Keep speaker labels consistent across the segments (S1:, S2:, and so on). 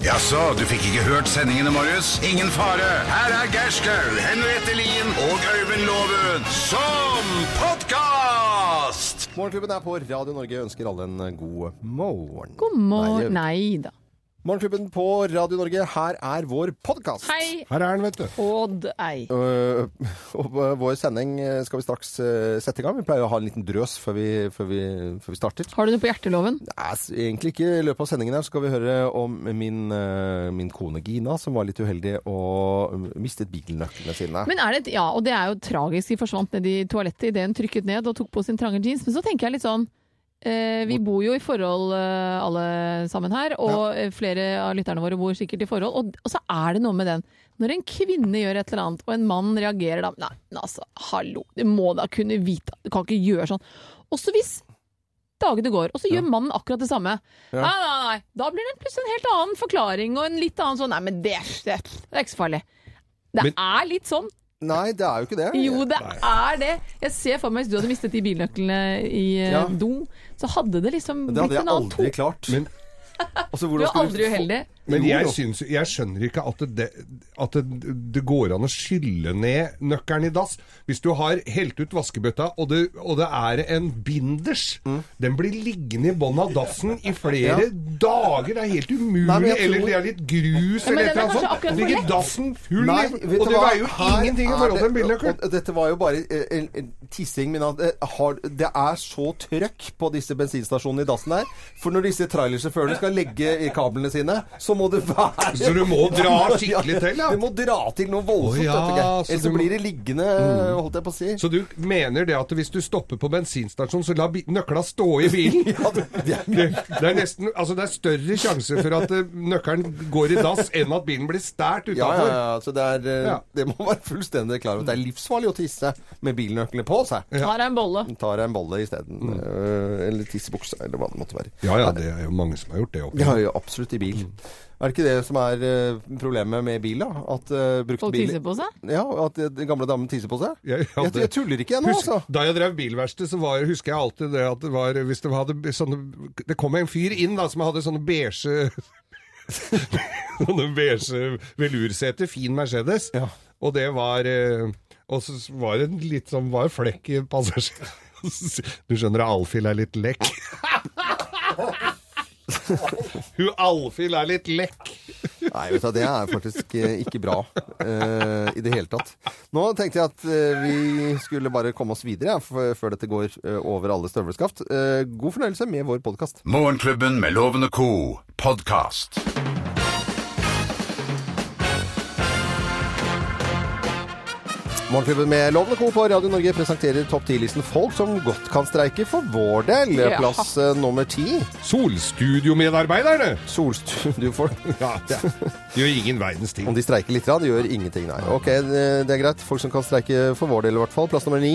S1: Jaså, du fikk ikke hørt sendingene, Marius? Ingen fare. Her er Gerskaug, Henriette Lien og Øyvind Loven som podkast!
S2: Morgenklubben er på Radio Norge. Ønsker alle en eh, god morgen. eh,
S3: God morgen Nei da.
S2: Morgenklubben på Radio Norge, her er vår podkast.
S3: Hei,
S4: Her er den, vet du.
S3: Odd Ei.
S2: Øh, og øh, vår sending øh, skal vi straks øh, sette i gang. Vi pleier å ha en liten drøs før vi, før vi, før vi starter.
S3: Har du noe på hjerteloven?
S2: Nei, s- egentlig ikke. I løpet av sendingen her så skal vi høre om min, øh, min kone Gina, som var litt uheldig og mistet bilnøklene sine.
S3: Men er det et ja, og det er jo tragisk. De forsvant ned i toalettet idet hun trykket ned og tok på sin trange jeans. Men så tenker jeg litt sånn eh, Vi bor jo i forhold eh, alle sammen her, og eh, flere av lytterne våre bor sikkert i forhold. Og, og så er det noe med den. Når en kvinne gjør et eller annet, og en mann reagerer da Nei, men altså, hallo. Du må da kunne vite Du kan ikke gjøre sånn. Også hvis dagene går, og så gjør mannen akkurat det samme.
S2: Ja.
S3: Nei, nei, nei. Da blir det plutselig en helt annen forklaring og en litt annen sånn Nei, men det, det, det er ikke så farlig. Det
S2: Men-
S3: er litt sånn.
S2: Nei, det er jo ikke det.
S3: Jo, det er det. Jeg ser for meg hvis du hadde mistet de bilnøklene i eh,
S2: Ja.
S3: do, så hadde det liksom
S2: Det
S3: blitt
S2: hadde jeg
S3: en annen
S2: aldri
S3: to.
S2: klart.
S4: Men-
S2: Altså,
S3: Du
S2: hvordan
S3: er
S2: skulle du
S3: aldri
S2: få-
S3: uheldig.
S4: Men
S2: Jo,
S4: jeg,
S2: jo.
S4: syns, jeg skjønner ikke at det, at det, det går an å skylle ned nøkkelen i dass. Hvis du har helt ut vaskebøtta, og det, og det er en binders
S2: Mm.
S4: Den blir liggende i bånn av dassen i flere dager. Det er helt umulig.
S2: Nei, men jeg tror-
S4: Eller det er litt grus
S3: men
S4: eller
S3: den er
S4: noe
S3: kanskje
S4: sånt.
S3: akkurat for
S4: Ligger
S3: lett.
S4: dassen full,
S2: Nei,
S4: i-
S2: vet
S4: og
S2: du
S4: det
S2: hva?
S4: veier jo
S2: Her
S4: ingenting i
S2: er
S4: forhold til en
S2: det-
S4: bilnøkkel.
S2: og Dette var jo bare eh, en, en tissing, men at det, har, det er så trøkk på disse bensinstasjonene i dassen her. For når disse trailersjåførene skal legge i kablene sine, så må det være
S4: Så du må dra skikkelig til, ja.
S2: Du må dra til noe voldsomt,
S4: Å ja,
S2: vet du ikke. Ellers
S4: så du
S2: så
S4: må- Mm.
S2: blir det liggende, holdt jeg på å si.
S4: Så du mener det at hvis du stopper på bensinstasjonen, så la bi- nøkla stå i bilen?
S2: Ja, det, det er
S4: Det, det er nesten, altså det er større sjanse for at eh, nøkkelen går i dass enn at bilen blir stært
S2: ja, ja,
S4: utafor.
S2: ja, så det, er, eh,
S4: Ja.
S2: det må være fullstendig klar over at det er livsfarlig å tisse med bilnøklene på seg.
S3: Her er en bolle.
S2: Tar jeg en bolle isteden.
S4: Mm.
S2: øh, Eller tissebukse, eller hva det måtte være.
S4: Ja, ja, det er jo mange som har gjort det. Opp.
S2: Ja, ja, absolutt i bil. Er det ikke det som er eh, problemet med bil, da? At eh, brukte
S3: Folk
S2: biler
S3: tisser på seg.
S2: Ja, at eh, den gamle damen tisser på seg?
S4: Ja, ja,
S2: jeg,
S4: det-
S2: jeg tuller ikke jeg nå, altså.
S4: Da jeg drev bilverksted, så var, husker jeg alltid det at det var Hvis det hadde sånne Det kom en fyr inn da som hadde sånne beige Sånne beige velurseter, fin Mercedes.
S2: Ja.
S4: Og det var eh, Og så var det en litt sånn var flekk i passasjeren. Du skjønner Alfhild er litt lekk. Hun Alfhild er litt lekk.
S2: Nei, vet du, det er faktisk eh, ikke bra eh, i det hele tatt. Nå tenkte jeg at eh, vi skulle bare komme oss videre, ja, f- før dette går eh, over alle støvleskaft. Eh, god fornøyelse med vår podkast.
S1: Morgenklubben med Loven og co. podkast.
S2: Morgenklubben med Lovende Co. på Radio Norge presenterer topp 10-listen folk som godt kan streike for vår del.
S3: Ja.
S2: Plass eh, nummer ti.
S4: Solstudio-medarbeiderne!
S2: Solstudiofolk.
S4: Ja, gjør ingen verdens ting.
S2: Om de streiker litt, det gjør ingenting, nei. Ok, det det er greit. Folk som kan streike for vår del, i hvert fall. Plass nummer ni.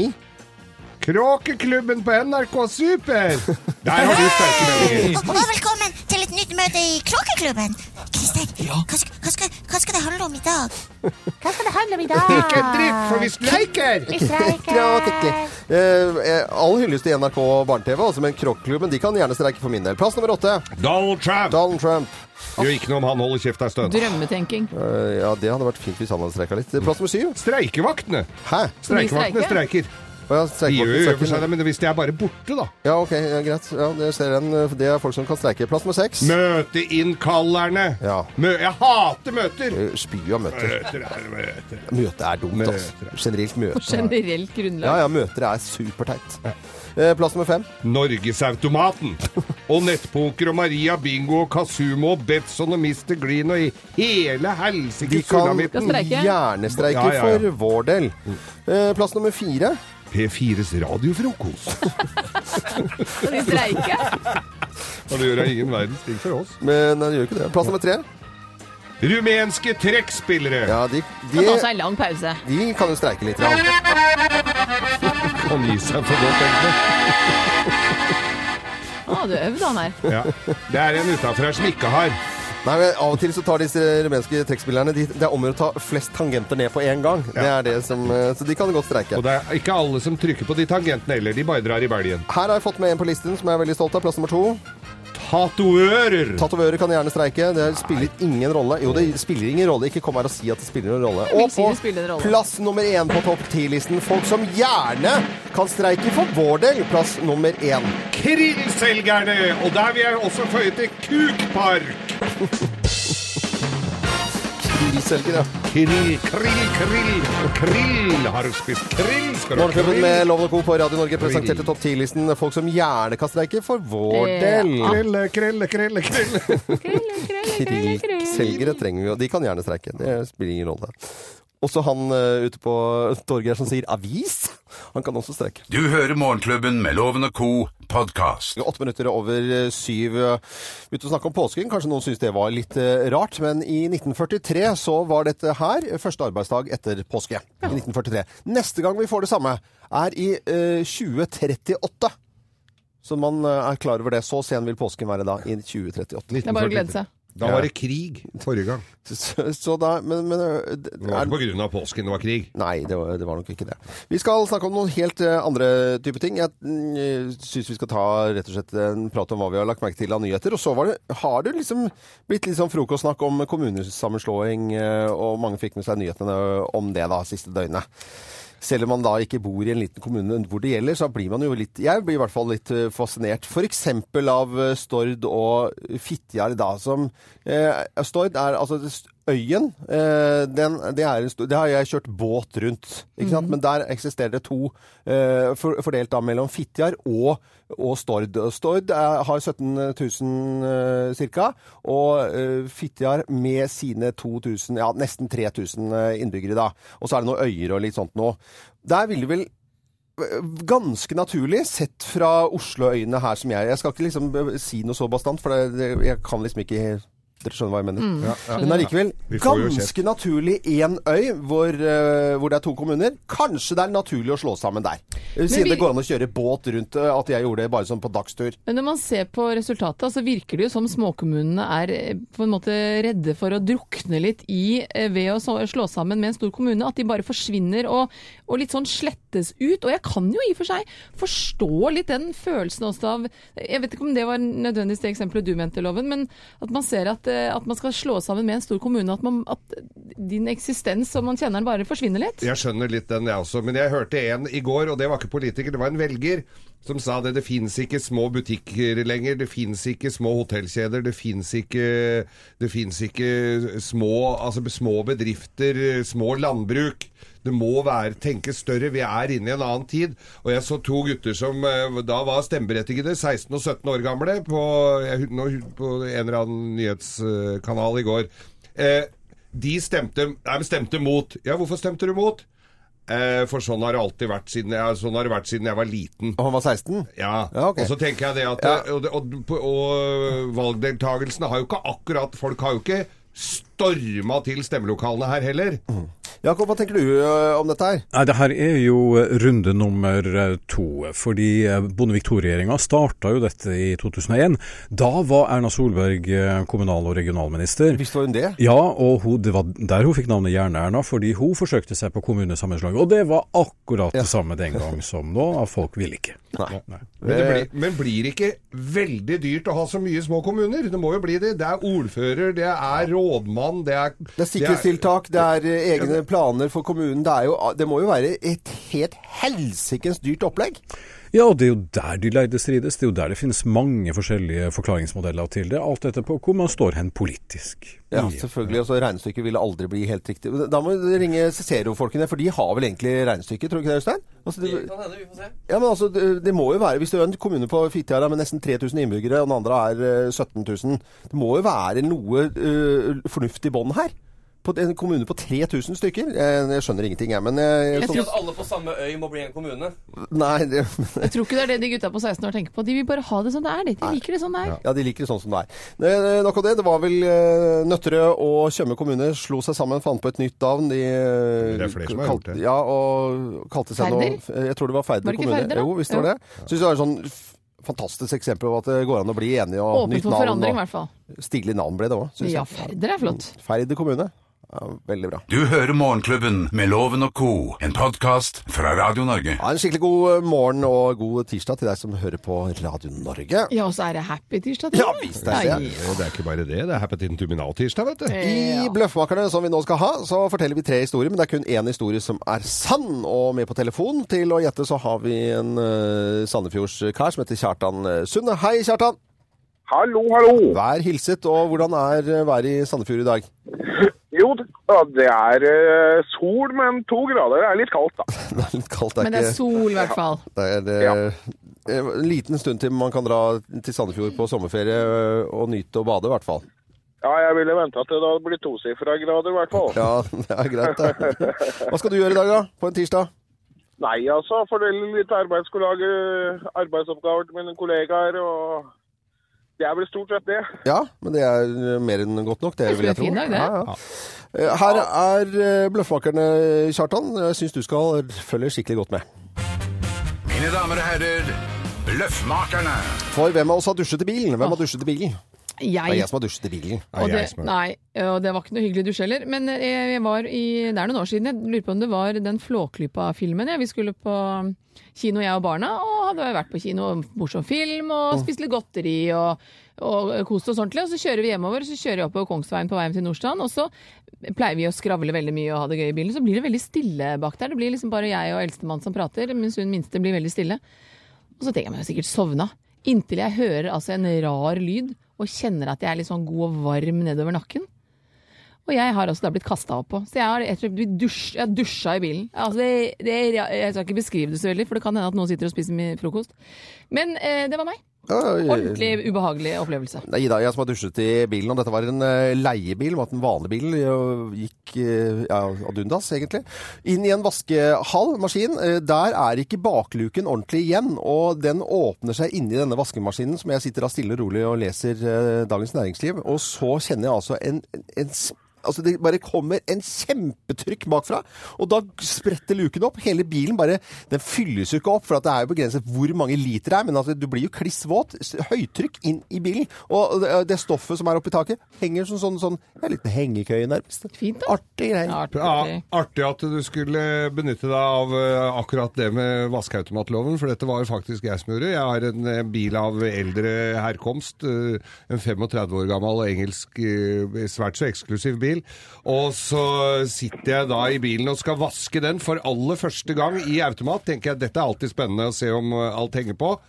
S4: Kråkeklubben på NRK Super! Der har du sterke meninger.
S5: Og velkommen til et nytt møte i Kråkeklubben. Kristin, hva, skal- hva, skal- hva skal det handle om i dag?
S6: Hva skal det handle om i dag?
S4: Ikke en dritt, for vi streiker!
S6: Vi streiker.
S2: Kråkeklubb. Eh, eh, all hyllest til NRK Barne-TV, altså, men Kråkeklubben de kan gjerne streike for min del. Plass nummer åtte.
S4: Donald Trump!
S2: Donald Trump.
S4: Gjør ikke noe om han holder kjeft ei stund.
S3: Drømmetenking.
S2: Eh, ja, det hadde vært fint hvis han hadde streika litt. Plass nummer syv.
S4: Streikevaktene!
S2: Hæ?
S4: Streikevaktene streiker.
S2: Å ja,
S4: De gjør jo i og for seg
S2: streikevaktene
S4: det, men hvis de er bare borte, da.
S2: Ja, ok, ja, greit. Ja, det, ser en, eh, det er folk som kan streike. Plass nummer seks.
S4: Møteinnkallerne!
S2: Ja.
S4: Mø jeg hater møter!
S2: Eh, Spy av møter.
S4: Møter er møter.
S2: Møte er dumt, altså.
S4: Møter, ja.
S2: Generelt
S3: På
S2: møte.
S3: generelt grunnlag.
S2: Ja, ja, møter er superteit. Eh, plass nummer fem.
S4: Norgesautomaten! Og nettpoker og Maria Bingo og Kasumo og Betson og Mr. Glyn og i hele
S2: De
S4: helsike
S2: kan
S4: sulamitten!
S3: streike.
S2: gjerne streike
S4: Ja, ja, ja.
S2: for vår del. Eh, Plass nummer fire.
S4: P4s radiofrokost!
S3: Skal de streike?
S4: Og det gjør jeg ingen verdens ting for oss.
S2: Men den gjør ikke det. Plass nummer tre.
S4: Rumenske trekkspillere!
S2: Ja, de,
S3: Kan ta seg
S2: de,
S3: en lang pause.
S2: de kan jo streike litt. Ja.
S4: Kan gi seg for godt, egentlig.
S3: Å, du øvde han her.
S4: Ja. Det er en utafra som ikke har.
S2: Nei, men Av og til så tar disse rumenske trekkspillerne de, Det er om å gjøre å ta flest tangenter ned på én gang. Det er det som, eh, så de kan godt streike.
S4: Og det er ikke alle som trykker på de tangentene heller, de bare drar i belgen.
S2: Her har jeg fått med en på listen som jeg er veldig stolt av. Plass nummer to.
S4: Tatoverer!
S2: Tatovører kan gjerne streike. Det spiller ingen rolle. Jo, det spiller ingen rolle. Ikke kom her og si at det spiller noen rolle.
S3: vil
S2: Og
S3: si
S2: på
S3: det spiller en rolle.
S2: plass nummer én på topp ti-listen, folk som gjerne kan streike for vår del, plass nummer én.
S4: Krillselgerne! Og der vil jeg også føye til kukpark!
S2: Krillselgere.
S4: Krill, krill, krill. Krill har du spist. Krill skal du ha.
S2: Morgenklubben
S4: Krill.
S2: med Loven og Co. på Radio Norge presenterte topp ti-listen folk som gjerne kan streike for vår
S3: Ja.
S2: del.
S4: Krille, krille, krille, krille.
S3: Krille, krille, krille, krille.
S2: Krillselgere trenger vi jo. De kan gjerne streike. Det spiller ingen rolle. Også han eh, ute på torget her som sier avis. Han kan også streike.
S1: Du hører Morgenklubben med Loven og Co. podkast.
S2: Åtte minutter over eh, syv. Begynte å snakke om påsken. Kanskje noen syntes det var litt eh, rart, men i 1943 så var dette her første arbeidsdag etter påske. I 1943. Neste gang vi får det samme, er i eh, 2038. Så man eh, er klar over det. Så sen vil påsken være da, i 2038.
S3: Det er bare å glede seg.
S4: Da var det krig forrige gang.
S2: Så, så da Men, men eh, det-
S4: Det var ikke på grunn av påsken det var krig.
S2: Nei, det var, det var nok ikke det. Vi skal snakke om noen helt eh, andre type ting. Jeg mm, syns vi skal ta rett og slett en prat om hva vi har lagt merke til av nyheter. Og så var det, har det liksom blitt litt sånn frokostsnakk om kommunesammenslåing, eh, og mange fikk med seg nyhetene om det da siste døgnet. Selv om man da ikke bor i en liten kommune hvor det gjelder, så blir man jo litt Jeg blir i hvert fall litt eh, fascinert. F.eks. av eh, Stord og Fitjar, da, som eh, Stord er altså st- Øyen, eh, den, det, er en stor, det har jeg kjørt båt rundt. Ikke sant? Men der eksisterer det to, eh, for, fordelt da mellom Fitjar og, og Stord. Og Stord er, har 17 000 eh, ca. Og eh, Fitjar med sine 2000, ja nesten 3000 eh, innbyggere da. Og så er det noen øyer og litt sånt noe. Der ville vel eh, ganske naturlig, sett fra Oslo-øyene her som jeg Jeg skal ikke liksom eh, si noe så bastant, for det, det, jeg kan liksom ikke Dere skjønner hva jeg mener. Men allikevel,
S4: Vi får jo
S2: ganske naturlig én øy hvor, eh, hvor det er to kommuner. Kanskje det er naturlig å slå sammen der. Siden
S3: vi-
S2: det går an å kjøre båt rundt eh, at jeg gjorde det bare sånn på dagstur.
S3: Men når man ser på resultatet, så virker det jo som småkommunene er eh, på en måte redde for å drukne litt i eh, ved å så- slå sammen med en stor kommune. At de bare forsvinner og, og litt sånn slettes ut. Og jeg kan jo i og for seg forstå litt den følelsen også av Jeg vet ikke om det var nødvendigvis det eksempelet du mente, Loven, men at man ser at, eh, at man skal slå sammen med en stor kommune. At, man, at din eksistens som man kjenner den, bare forsvinner litt.
S4: Jeg skjønner litt den, jeg også. Men jeg hørte en i går, og det var ikke politiker, det var en velger, som sa det. Det fins ikke små butikker lenger, det fins ikke små hotellkjeder, det fins ikke, det finnes ikke små, altså, små bedrifter, små landbruk. Det må være, tenke større. Vi er inne i en annen tid. Og jeg så to gutter som eh, da var stemmeberettigede, 16 og 17 år gamle, på, jeg, nå, på en eller annen nyhetskanal i går. Eh, de stemte, nei, men stemte mot. Ja, hvorfor stemte du mot? Eh, for sånn har det alltid vært siden, ja, sånn har det vært siden jeg var liten.
S2: Og han var 16?
S4: Ja,
S2: Ja, ok.
S4: Og så tenker jeg det at eh,
S2: Ja.
S4: og, det- og, og, valgdeltagelsen har jo ikke akkurat Folk har jo ikke storma til stemmelokalene her heller.
S2: Mm. Jakob, hva tenker du eh, om dette her?
S7: Nei, det her er jo runde nummer eh, to. Fordi eh, Bondevik II-regjeringa starta jo dette i 2001. Da var Erna Solberg eh, kommunal- og regionalminister.
S2: Visste hun det?
S7: Ja, og hun, det var der hun fikk navnet Jern-Erna, fordi hun forsøkte seg på kommunesammenslåing. Og det var akkurat det samme den gang som nå, at folk ville ikke.
S2: Nei.
S4: Men, det
S2: Eh,
S4: blir, men blir det ikke veldig dyrt å ha så mye små kommuner? Det må jo bli det. Det er ordfører, det er rådmann, det er
S2: Det er sikkerhetstiltak, det er eh, egne planer for kommunen. Det, er jo, det må jo være et helt helsikens dyrt opplegg.
S7: Ja, og det er jo der de lærde strides. Det er jo der det finnes mange forskjellige forklaringsmodeller til det. Alt etter på hvor man står hen politisk.
S2: Ja, selvfølgelig. Og så regnestykket ville aldri bli helt riktig. Men Da må du ringe Cicero-folkene, for de har vel egentlig regnestykket, tror du ikke det, Øystein? Altså, det, kan hende, vi får se. Ja, men altså, det, det må jo være Hvis du er en kommune på Fitjar med nesten 3000 innbyggere, og den andre er eh, 17 000, det må jo være noe eh, fornuftig bånd her. På en kommune på 3000 stykker. Jeg, jeg skjønner ingenting, jeg, men jeg,
S3: Jeg
S2: sånn-
S8: Ikke at alle på samme øy må bli en kommune.
S2: Nei, det,
S3: Jeg tror ikke det er det de gutta på 16 år tenker på. De vil bare ha det som det er. De, de liker det sånn det er.
S2: Ja, de liker det sånn som det er. Ne- Nok om det. Det var vel eh, Nøtterøy og Tjøme kommune slo seg sammen, fant på et nytt navn. De, eh,
S4: Det er flere som har
S2: kalt-
S4: gjort det.
S2: Ja, og kalte seg
S3: Færder?
S2: noe Jeg tror det var Færder
S3: Var det ikke
S2: kommune.
S3: Færder, da?
S2: Jo, visst var
S3: Jo.
S2: det. Syns det var et sånn f- fantastisk eksempel på at det går an å bli enige og
S3: Åpent
S2: nytt
S3: for
S2: navn.
S3: forandring, i
S2: Og
S3: hvert fall.
S2: stilig navn ble det òg, syns
S3: Ja,
S2: jeg.
S3: Færder er flott.
S2: Færder kommune. Ja, veldig bra.
S1: Du hører Morgenklubben med Loven og Co., en podkast fra Radio Norge.
S2: Ja, en skikkelig god morgen og god tirsdag til deg som hører på Radio Norge.
S3: Ja, og så er det happy tirsdag
S2: Ja, visst er det.
S3: Nei.
S4: Og det er ikke bare det, det er Happy Tin Tuminal-tirsdag, vet du.
S2: I Bløffmakerne, som vi nå skal ha, så forteller vi tre historier, men det er kun én historie som er sann. Og med på telefon til å gjette så har vi en uh, Sandefjordskar som heter Kjartan eh, Sunde. Hei, Kjartan!
S9: Hallo, hallo.
S2: Vær hilset, og hvordan er eh, været i Sandefjord i dag?
S9: Jo, da, det er eh, sol, men to grader. Det er litt kaldt, da.
S2: Det er litt kaldt, det
S3: Men det
S2: er
S3: er
S2: ikke
S3: sol, i hvert fall.
S2: det er, eh, eh, En liten stund til man kan dra til Sandefjord på sommerferie eh, og nyte og bade, i hvert fall.
S9: Ja, jeg ville vente at det da blir tosifra grader, i hvert fall.
S2: Ja, det er greit, det. Hva skal du gjøre i dag, da? På en tirsdag?
S9: Nei, altså, fordele litt arbeidskollegaer, arbeidsoppgaver til mine kollegaer, og det er vel stort sett det.
S2: Ja, men det er eh, mer enn godt nok, det
S3: Det
S2: vil jeg tro.
S3: blir en fin dag, det.
S2: Ja, ja. Eh, Her er eh, bløffmakerne, Kjartan. Jeg syns du skal følge skikkelig godt med.
S1: Mine damer og herrer, Bløffmakerne.
S2: For hvem av oss har dusjet i bilen? Hvem har dusjet i bilen? Det er
S3: Jeg
S2: jeg som har dusjet i bilen.
S3: Og
S4: jeg
S3: det,
S4: som er-
S3: nei, og det var ikke noe hyggelig dusj heller. Men jeg, jeg var i, det er noen år siden. Jeg lurer på om det var den Flåklypa-filmen. Ja. Vi skulle på kino, jeg og barna, og hadde vært på kino. Morsom film, og spist litt godteri og, og kost oss ordentlig. Og så kjører vi hjemover, så kjører jeg oppover Kongsveien på vei hjem til Nordstrand. Og så pleier vi å skravle veldig mye og ha det gøy i bilen. Så blir det veldig stille bak der. Det blir liksom bare jeg og eldstemann som prater, mens hun minste blir veldig stille. Og så tenker jeg meg sikkert sovna. Inntil jeg hører altså en rar lyd og kjenner at jeg er litt sånn god og varm nedover nakken. Og jeg har altså da blitt kasta opp på. Så jeg har jeg tror jeg blitt dusj, jeg har dusja i bilen. Altså det, det, jeg skal ikke beskrive det så veldig, for det kan hende at noen sitter og spiser min frokost. Men eh, det var meg.
S2: Oi.
S3: Ordentlig ubehagelig opplevelse.
S2: Det er Ida jeg som har dusjet i bilen, og dette var en eh, leiebil, med at en vanlig bil eh, gikk eh, ja, ad undas, egentlig. Inn i en vaskehall, maskin. Eh, Der er ikke bakluken ordentlig igjen, og den åpner seg inni denne vaskemaskinen, som jeg sitter da stille og rolig og leser eh, Dagens Næringsliv, og så kjenner jeg altså en, en s- Altså Det bare kommer en kjempetrykk bakfra, og da spretter luken opp. Hele bilen bare Den fylles jo ikke opp, for at det er jo begrenset hvor mange liter det er. Men altså, du blir jo kliss våt. S- Høytrykk inn i bilen. Og det- det stoffet som er oppi taket, henger som sånn, sånn ja, Litt hengekøye, nærmest.
S3: Fint, da.
S2: Artig greie.
S3: Ja,
S4: Ja,
S3: artig.
S4: artig at du skulle benytte deg av eh, akkurat det med vaskeautomatloven, for dette var jo faktisk jeg som gjorde. Jeg har en eh, bil av eldre herkomst, eh, en 35 år gammel engelsk, eh, svært så eksklusiv bil. Og så sitter jeg da i bilen og skal vaske den for aller første gang i automat. Tenker jeg dette er alltid spennende å se om eh, alt henger på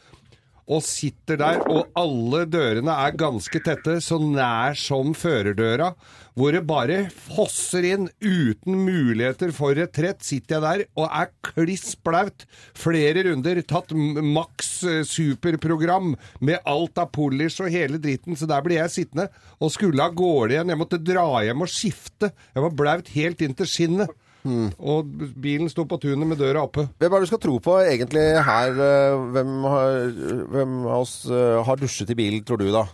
S4: og sitter der, og alle dørene er ganske tette, så nær som førerdøra, hvor det bare fosser inn uten muligheter for retrett, sitter jeg der og er kliss blaut. Flere runder, tatt m- maks eh, superprogram med alt av polish og hele dritten, så der blir jeg sittende og skulle av gårde igjen. Jeg måtte dra hjem og skifte. Jeg var blaut helt inn til skinnet. Og bilen sto på tunet med døra oppe.
S2: Hvem er det du skal tro på egentlig her? eh, Hvem, har, hvem av oss eh, har dusjet i bilen, tror du, da?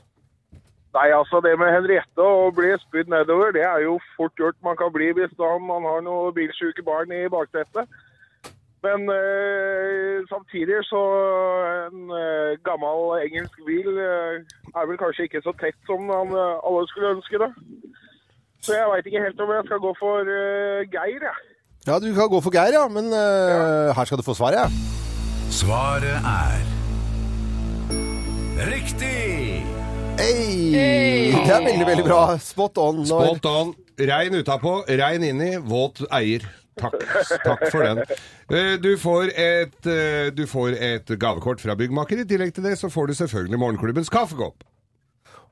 S9: Nei, altså, det med Henriette og bli spydd nedover, det er jo fort gjort man kan bli hvis da man har noen bilsjuke barn i baksetet. Men eh, samtidig så En eh, gammel engelsk bil eh, er vel kanskje ikke så tett som han, eh, alle skulle ønske det. Så jeg veit ikke helt om jeg skal gå for eh, Geir, jeg.
S2: Ja, du kan gå for Geir, ja. Men eh, her skal du få svaret.
S1: Svaret er Riktig!
S2: Hey. Det er veldig, veldig bra. Spot on. Når-
S4: Spot on. Regn utapå, regn inni, våt eier. Takk, takk for den. Eh, Du får, et, eh, du får et gavekort fra byggmaker. I tillegg til det så får du selvfølgelig morgenklubbens kaffekopp.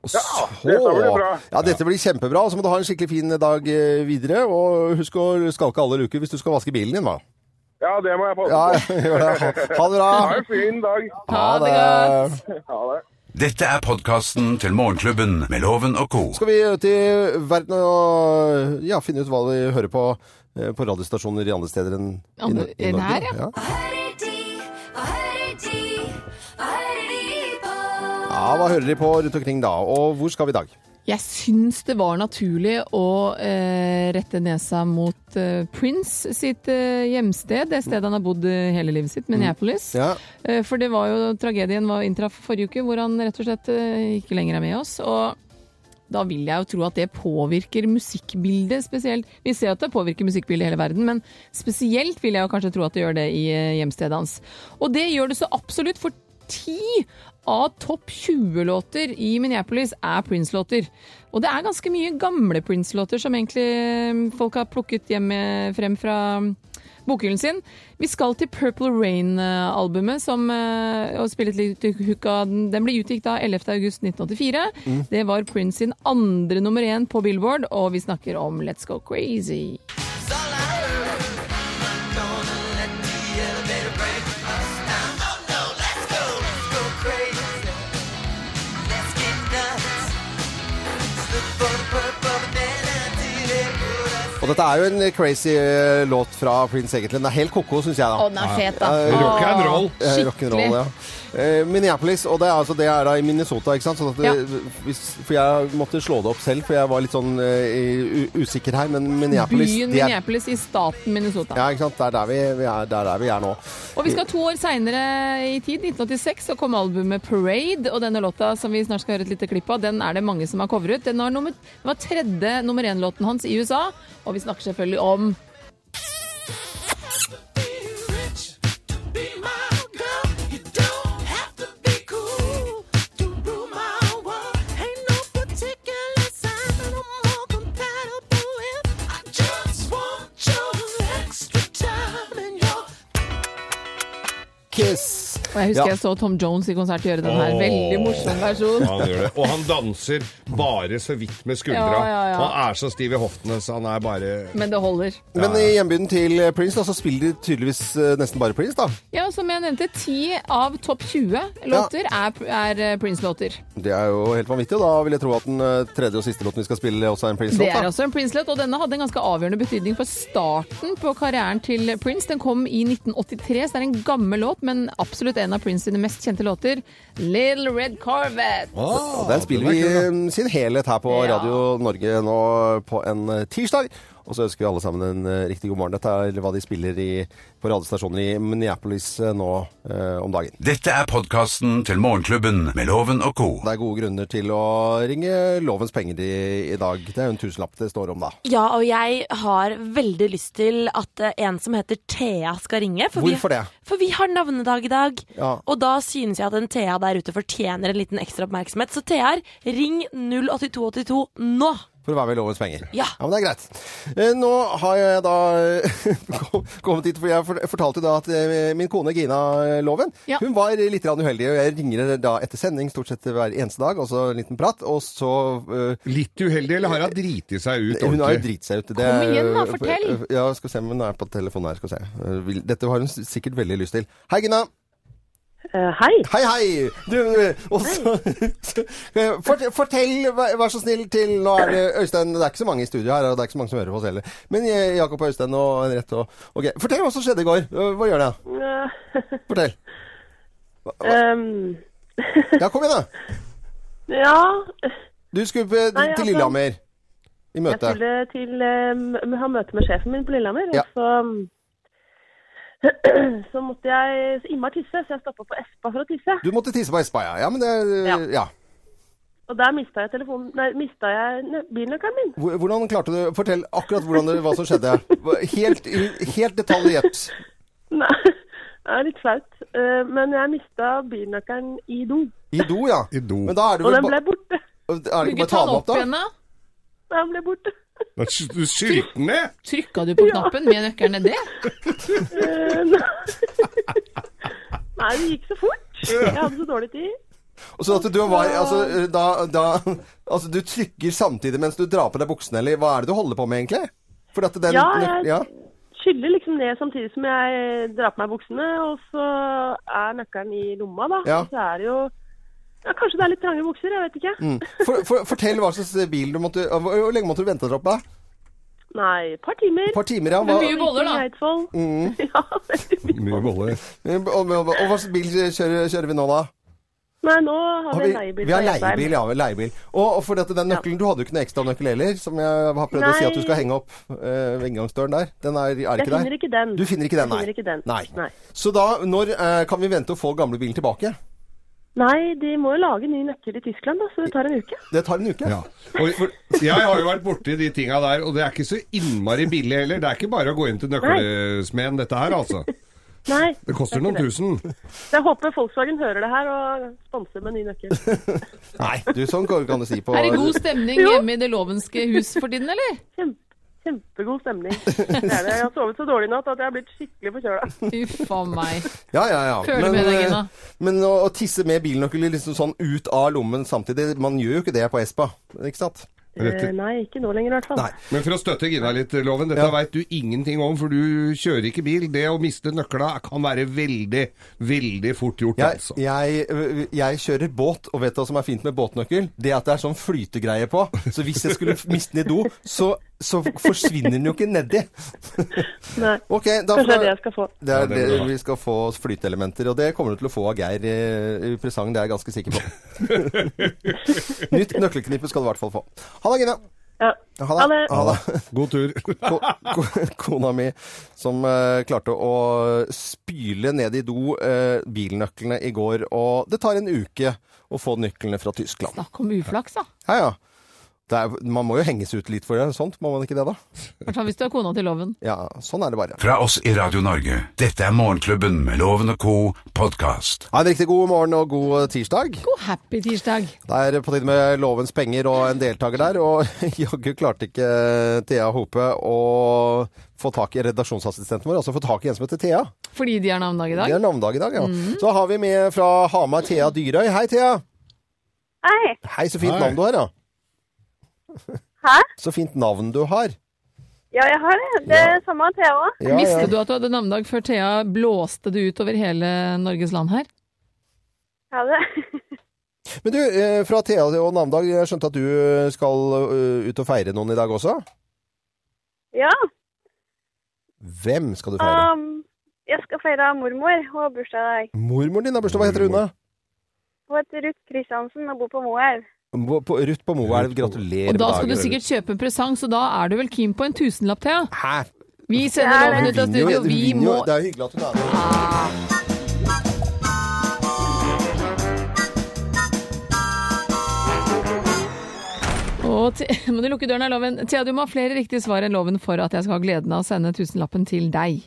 S2: Og så...
S9: dette blir bra.
S2: Ja, dette blir kjempebra. Og så må du ha en skikkelig fin dag eh, videre. Og husk å skalke alle luker hvis du skal vaske bilen din, hva.
S9: Ja, det må jeg passe
S2: Ja,
S9: på.
S2: gjør det. Ha- Ha det bra.
S9: Ha en fin dag.
S3: Ha det godt!
S9: Ha det.
S1: Dette er podkasten til Morgenklubben med Loven og Co.
S2: Skal vi ut i verden og ja, finne ut hva vi hører på eh, på radiostasjoner i andre steder enn i,
S3: Andre-
S2: i
S3: enn
S2: Norge?
S3: her, ja.
S2: ja.
S10: hører de, hva hører de, hva hører de på?
S2: Ja, Hva hører de på rundt omkring da? Og hvor skal vi i dag?
S3: Jeg syns det var naturlig å eh, rette nesa mot eh, Prince sitt eh, hjemsted, det stedet han har bodd eh, hele livet sitt, Minneapolis.
S2: Ja.
S3: Eh, for det var jo tragedien var inntraff forrige uke, hvor han rett og slett eh, ikke lenger er med oss. Og da vil jeg jo tro at det påvirker musikkbildet spesielt. Vi ser at det påvirker musikkbildet i hele verden, men spesielt vil jeg jo kanskje tro at det gjør det i eh, hjemstedet hans. Og det gjør det så absolutt, for ti av topp 20-låter i Minneapolis er Prince-låter. Og det er ganske mye gamle Prince-låter som egentlig eh, folk har plukket hjem eh, frem fra bokhyllen sin. Vi skal til Purple Rain-albumet, som eh, og spillet litt hook av den. Den ble utgitt da 11. august 1984.
S10: Mm.
S3: Det var Prince sin andre nummer én på Billboard, og vi snakker om Let's Go Crazy.
S2: Og dette er jo en crazy eh, låt fra Prince, egentlig. Den er helt ko-ko, syns jeg. da.
S3: Å, den er fet, da.
S4: Ah.
S2: Ja,
S3: Rock and roll.
S2: Eh, rock and roll, ja. Eh, Minneapolis, og det er, altså, det er da i Minnesota, ikke sant? Sånn at det, hvis, for jeg måtte slå det opp selv, for jeg var litt sånn eh, i- u- usikker her, men Minneapolis
S3: Byen
S2: det er-
S3: Minneapolis i staten Minnesota.
S2: Ja, ikke sant. Det er der vi, vi, er, det er, der vi er nå.
S3: Og vi skal to år seinere i tid, 1986, så kom albumet Parade. Og denne låta som vi snart skal høre et lite klipp av, den er det mange som har covret. Den var, nummer, den var tredje nummer én-låten hans i USA, og vi snakker selvfølgelig om
S2: Kiss.
S3: Og jeg husker
S4: Ja.
S3: jeg så Tom Jones i konsert gjøre den her.
S4: Åh.
S3: Veldig morsom versjon.
S4: Ja, han gjør det. Og han danser bare så vidt med skuldra.
S3: Ja, ja, ja.
S4: Han er så stiv i hoftene, så han er bare
S3: Men det holder.
S2: Men i hjembyen til eh, Prince da, så spiller de tydeligvis eh, nesten bare Prince, da.
S3: Ja, som jeg nevnte, ti av topp 20 låter er, er eh, Prince-låter.
S2: Det er jo helt vanvittig, og da vil jeg tro at den eh, tredje og siste låten vi skal spille, også er en
S3: Det
S2: Prince-låt.
S3: er
S2: da.
S3: også en Prince-låt, og denne hadde en ganske avgjørende betydning for starten på karrieren til Prince. Den kom i 1983, så det er en gammel låt, men absolutt en av Prince sine mest kjente låter. Little Red Corvette.
S2: Og Den spiller vi i sin helhet her på
S3: Ja.
S2: Radio Norge nå på en eh, tirsdag. Og så ønsker vi alle sammen en eh, riktig god morgen. Dette er hva de spiller i, på radiostasjoner i Minneapolis eh, nå eh, om dagen.
S1: Dette er podkasten til Morgenklubben med Loven og co.
S2: Det er gode grunner til å ringe lovens penger i, i dag. Det er jo en tusenlapp det står om, da.
S11: Ja, og jeg har veldig lyst til at eh, en som heter Thea skal ringe.
S2: Hvorfor
S11: vi,
S2: det?
S11: For vi har navnedag i dag.
S2: Ja.
S11: Og da synes jeg at en Thea der ute fortjener en liten ekstra oppmerksomhet. Så Thea, ring 08282 nå!
S2: For å være med i lovens penger.
S11: Ja.
S2: men det er greit. Eh, Nå har jeg da kom- kommet hit, for jeg for- fortalte jo da at eh, min kone Gina eh, Loven, hun var litt grann uheldig, og jeg ringer henne da etter sending stort sett hver eneste dag, og så en liten prat, og så... eh,
S4: litt uheldig, eller har hun driti seg ut
S2: Hun har jo
S4: ordentlig?
S2: driti seg ut.
S4: Kom igjen da, fortell.
S2: Ja, skal vi se, men nå er jeg på telefonen her, skal vi se. Eh, vil- Dette har hun s- sikkert veldig lyst til. Hei, Gina!
S12: Eh, hei.
S2: Hei, hei! Du, eh, og så, Eh, fort, fortell, vær vær så snill, til Nå er det Øystein Det er ikke så mange i studio her, og det er ikke så mange som hører på oss heller. Men eh, Jakob og Øystein og Henriette og Ok, fortell hva som skjedde i går. Eh, Hva gjør det? Fortell.
S12: Ehm,
S2: Ja, kom igjen, da.
S12: ja,
S2: Du skulle på-
S12: Nei, altså,
S2: til Lillehammer i
S12: jeg
S2: møte.
S12: skulle til um, ha møte med sjefen min på Lillehammer.
S2: Ja.
S12: Og så, så måtte jeg så innmari tisse, så jeg stoppa på Espa for å tisse.
S2: Du måtte tisse på Espa, ja. Ja, men det eh,
S12: Ja.
S2: Ja.
S12: Og der mista jeg telefonen Nei, mista jeg nø- bilnøkkelen min.
S2: Hvor- Hvordan klarte du Fortell akkurat hvordan det, hva som skjedde. Hva- Helt, helt detaljert.
S12: Nei, det er litt flaut. Eh, men jeg mista bilnøkkelen i do.
S2: I do, ja. Men da er det
S12: Og
S2: vel
S12: den
S2: ba-
S12: ble borte.
S2: Er det ikke bare å ta den opp, da?
S12: Den ble borte.
S4: Du skylte den ned!
S3: Trykka du på knappen med nøkkelen ned det?
S12: Eh, Nei, det gikk så fort. Jeg hadde så dårlig tid.
S2: Og så Sånn at du var, altså, da, da, altså, du trykker samtidig mens du drar på deg buksene, eller hva er det du holder på med, egentlig? For at den,
S12: Ja, jeg-
S2: ja.
S12: skyller liksom ned samtidig som jeg drar på meg buksene, og så er nøkkelen i lomma, da.
S2: Ja.
S12: Og så er det jo ja, Kanskje det er litt trange bukser, jeg vet ikke.
S2: Mm. For, for, fortell hva slags bil du måtte Hvor hvor lenge måtte du vente deg opp, da?
S12: Nei, et par timer.
S2: Et par timer, ja. Hva- Det er mye boller, da.
S12: I Eidsvoll.
S2: Mm.
S4: Mye boller.
S2: Og, og, og hva slags bil kjører, kjører vi nå, da?
S12: Nei, nå har
S2: Har
S12: vi en leiebil.
S2: vi har
S12: fra Jessheim.
S2: leiebil, ja. Leiebil. Og, og for dette, den nøkkelen, Du hadde jo ikke noen ekstra nøkkel heller, som jeg har prøvd å si at du
S12: Nei.
S2: skal henge opp eh, ved inngangsdøren der. Den er, er ikke
S12: Jeg
S2: der?
S12: finner ikke den.
S2: Du finner ikke den,
S12: Jeg
S2: nei.
S12: finner ikke den.
S2: Nei. Så da, når eh, kan vi vente å få gamlebilen tilbake?
S12: Nei, de må jo lage ny nøkkel i Tyskland, da, så det tar en uke.
S2: Det tar en uke.
S4: Ja. Og, for, jeg har jo vært borti de tinga der, og det er ikke så innmari billig heller. Det er ikke bare å gå inn til nøkkelsmeden, dette her, altså.
S12: Nei.
S4: Det koster
S12: er ikke
S4: noen tusen.
S12: Så jeg håper Volkswagen hører det her og sponser med ny nøkkel.
S2: Nei, du, sånn kan kan du si på
S3: Er det god stemning
S12: Jo.
S3: hjemme i det lovenske hus for tiden, eller?
S12: Kjempegod stemning. Det er det. Jeg har sovet så dårlig i natt at jeg har blitt skikkelig forkjøla.
S3: Uff a meg.
S2: Ja, ja, ja.
S3: Føler med deg,
S2: eh,
S3: Gina.
S2: men å, å tisse med bilnøkler liksom sånn ut av lommen samtidig, man gjør jo ikke det på Espa, ikke sant?
S4: Rett-
S12: Eh, Nei, ikke nå lenger i hvert fall.
S4: Men for å støtte Gina litt, Loven, dette veit du ingenting om, for du kjører ikke bil. Det å miste nøkla kan være veldig, veldig fort gjort,
S2: Jeg,
S4: altså.
S2: jeg, øh, jeg kjører båt, og vet du hva som er fint med båtnøkkel? Det at det er sånn flytegreie på. Så hvis jeg skulle miste den i do, så, så forsvinner den jo ikke nedi.
S12: Nei.
S2: da
S12: Kanskje det
S2: får-
S12: er det jeg skal få.
S2: Det er
S4: Ja, det blir
S2: det,
S4: bra.
S2: vi skal få flyteelementer, og det kommer du til å få av Geir eh, i presang, det er jeg ganske sikker på. Nytt nøkkelknippe skal du i hvert fall få. Ha det, Gina. Ha det. Ha det.
S4: God tur.
S2: Ko ko kona mi som eh, klarte å spyle ned i do eh, bilnøklene i går, og det tar en uke å få nøklene fra Tyskland.
S3: Snakk om uflaks, da.
S2: Ja, ja. Det er, man må jo henges ut litt for det, sånt må man ikke det da?
S3: I hvert fall hvis du er kona til loven.
S2: Ja, sånn er det bare.
S1: Fra oss i Radio Norge. Dette er Morgenklubben med Loven og co. podkast.
S2: Ha en riktig god morgen og god eh, tirsdag.
S3: God happy tirsdag.
S2: Det er på tide med Lovens penger og en deltaker der, og jaggu klarte ikke eh, Thea Hope å få tak i redaksjonsassistenten vår, altså få tak i en som heter Thea.
S3: Fordi de har navnedag i dag.
S2: Det er navnedag i dag, ja. Så har vi med fra Hamar Thea Dyrøy. Hei, Thea.
S13: Hei.
S2: Hei, så fint
S13: Hei.
S2: navn du har, ja.
S13: Hæ?
S2: Så fint navn du har.
S13: Ja, jeg har det. Det er samme Thea òg.
S2: Ja,
S3: Visste
S2: ja.
S3: du at du hadde navnedag før Thea blåste det ut over hele Norges land her?
S13: Ja, det.
S2: Men du, eh, fra Thea og navnedag, jeg skjønte at du skal eh, ut og feire noen i dag også.
S13: ja.
S2: Hvem skal du
S3: Ah.
S2: feire?
S13: Um, jeg skal feire mormor og bursdag i dag.
S2: Mormoren din har bursdag. Hva heter hun, da?
S13: Hun heter Ruth Kristiansen og bor på Moelv.
S2: Bo- på- Ruth på Moelv. Gratulerer
S3: Og da skal
S2: med
S3: du
S2: dagen.
S3: sikkert kjøpe en presang, så da er du vel keen på en tusenlapp, Thea?
S2: Hæ?
S3: Vi sender
S2: Ja,
S3: loven
S2: det-
S3: ut av
S2: Du vinner jo-
S3: studio.
S2: du
S3: Vi
S2: vinner jo.
S3: må
S2: Det er hyggelig at hun er med.
S3: Og Thea- må du lukke døren av loven. Thea, du må ha flere riktige svar enn loven for at jeg skal ha gleden av å sende tusenlappen til deg.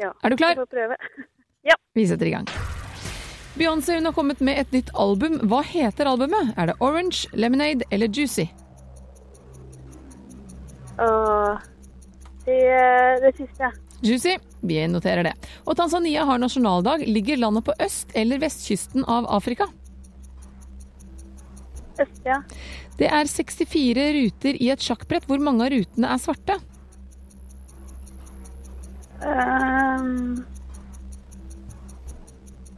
S13: Ja.
S3: Er du klar?
S13: Jeg får prøve.
S3: Vi setter i gang. Beyoncé hun har kommet med et nytt album. Hva heter albumet? Er det Orange, Lemonade eller Juicy?
S13: Og det, det siste.
S3: Juicy. Vi noterer det. Og Tanzania har nasjonaldag. Ligger landet på øst- eller vestkysten av Afrika?
S13: Øst, ja.
S3: Det er 64 ruter i et sjakkbrett. Hvor mange av rutene er svarte?
S13: Um,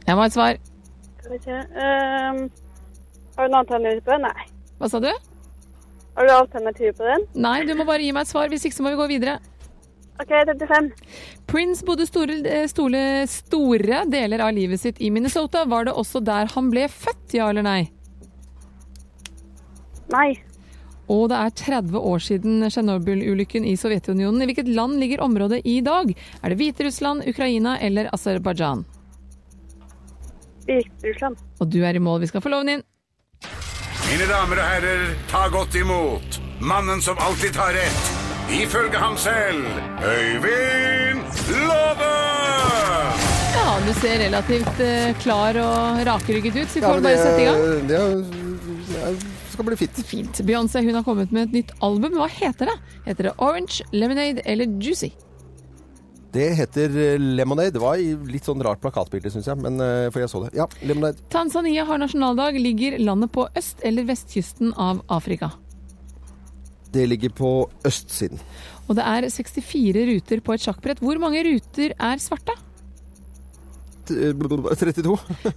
S3: Jeg må ha et svar.
S13: skal vi se. Um, har du en alternativ på den? Nei.
S3: Hva sa du?
S13: Har du alternativ på den?
S3: Nei, du må bare gi meg et svar. Hvis ikke så må vi gå videre.
S13: OK, 35.
S3: Prince bodde store, eh, store, store deler av livet sitt i Minnesota. Var det også der han ble født, ja eller nei?
S13: Nei.
S3: Og det er 30 år siden Tsjernobyl-ulykken i Sovjetunionen. I hvilket land ligger området i dag? Er det Hviterussland, Ukraina eller Aserbajdsjan?
S13: Hviterussland.
S3: Og du er i mål. Vi skal få loven inn.
S1: Mine damer og herrer, ta godt imot mannen som alltid tar rett. Ifølge ham selv Øyvind Låve!
S3: Ja, du ser relativt eh, klar og rakrygget ut, så vi
S2: Ja,
S3: får
S2: men
S3: bare sette i gang.
S2: det, det er- skal bli fint.
S3: Fint. Beyoncé hun har kommet med et nytt album. Hva heter det? Heter det Orange, Lemonade eller Juicy?
S2: Det heter eh, Lemonade. Det var i litt sånn rart plakatbilde, syns jeg, men eh, for jeg så det. Ja, Lemonade.
S3: Tanzania har nasjonaldag. Ligger landet på øst- eller vestkysten av Afrika?
S2: Det ligger på østsiden.
S3: Og det er 64 ruter på et sjakkbrett. Hvor mange ruter er svarte?
S2: T- eh, 32.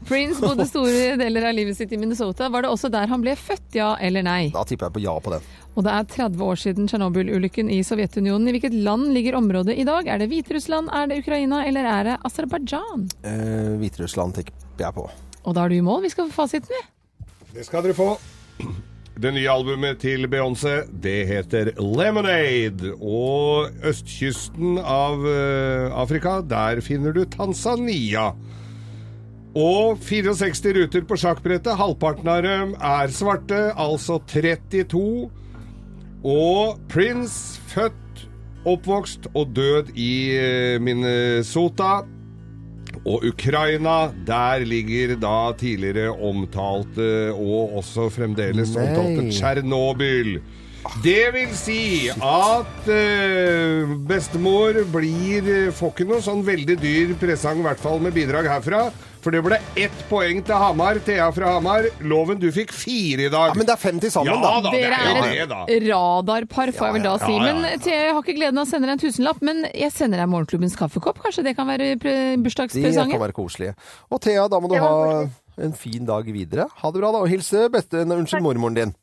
S3: Prince bodde store deler av livet sitt i Minnesota. Var det også der han ble født, ja eller nei?
S2: Da tipper jeg på ja på den.
S3: Og det er 30 år siden Tsjernobyl-ulykken i Sovjetunionen. I hvilket land ligger området i dag? Er det Hviterussland, er det Ukraina eller er det Aserbajdsjan?
S2: Eh, Hviterussland tipper jeg på.
S3: Og da er du i mål. Vi skal få fasiten, vi.
S4: Det skal dere få. Det nye albumet til Beyoncé, det heter Lemonade. Og østkysten av eh, Afrika, der finner du Tanzania. Og 64 ruter på sjakkbrettet. Halvparten av dem er svarte, altså 32. Og Prince, født, oppvokst og død i eh, Minnesota. Og Ukraina, der ligger da tidligere omtalte, og også fremdeles
S14: Nei.
S4: omtalte, Tsjernobyl. Det vil si at eh, bestemor blir, får ikke noe sånn veldig dyr presang, i hvert fall med bidrag herfra. For det ble ett poeng til Hamar. Thea fra Hamar. Loven, du fikk fire i dag. Ja, Men
S2: det er fem til sammen,
S4: ja,
S2: da.
S4: da. det
S3: Dere
S4: er jo
S3: er
S4: det, da.
S3: et radarpar, får jeg vel da
S4: ja,
S3: si.
S4: ja, ja.
S3: Men eh, Thea, jeg har ikke gleden av å sende deg en tusenlapp, men jeg sender deg morgenklubbens kaffekopp. Kanskje det kan være pre-
S2: De kan
S3: bursdagspresangen?
S2: være koselige. Og Thea, da må du ha en fin dag videre. Ha det bra, da. Og hilse beste, nei, unnskyld, mormoren din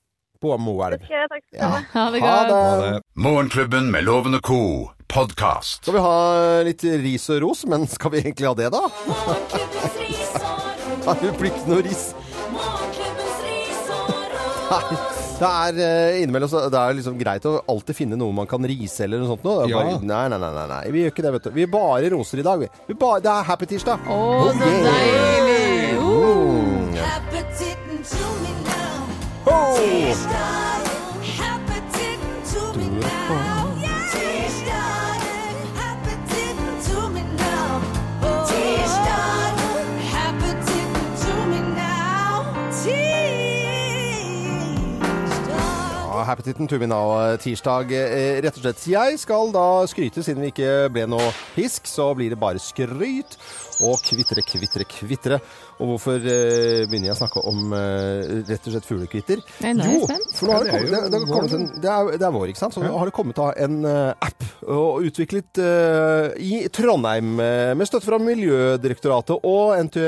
S2: på Moelv.
S12: Ok, takk skal du ha.
S3: Ha det
S2: Ha
S3: godt.
S2: det.
S1: Morgenklubben med Loven og co. podkast.
S2: Skal vi ha litt ris og ros, men skal vi egentlig ha det, da? Nei, Det blir ikke noe ris. Nei. Det er eh, innimellom så det er liksom greit å alltid finne noe man kan rise eller noe sånt. Noe. Det er
S4: Ja.
S2: Bare, nei, nei, nei, nei, nei. Vi gjør ikke det, vet du. Vi bare roser i dag. Vi. Vi bare, det er happy tirsdag. Oh,
S3: Å, så deilig!
S2: Mm. Ja, Happy Titten to me now, eh, tirsdag. Eh, Rett og slett. Jeg skal da skryte, siden vi ikke ble noe pisk, så blir det bare skryt. Og kvitre, kvitre, kvitre. Og hvorfor eh, begynner jeg å snakke om eh, rett og slett fuglekvitter?
S3: Nei, nå er jeg
S2: Jo,
S3: spent.
S2: for nå har det
S3: Ja, det
S2: kommet,
S3: er
S2: det, det,
S3: jo
S2: har
S3: vår.
S2: kommet en, det, er, det er vår, ikke sant? Så nå har det kommet da en eh, app og utviklet eh, i Trondheim eh, med støtte fra Miljødirektoratet og NTU,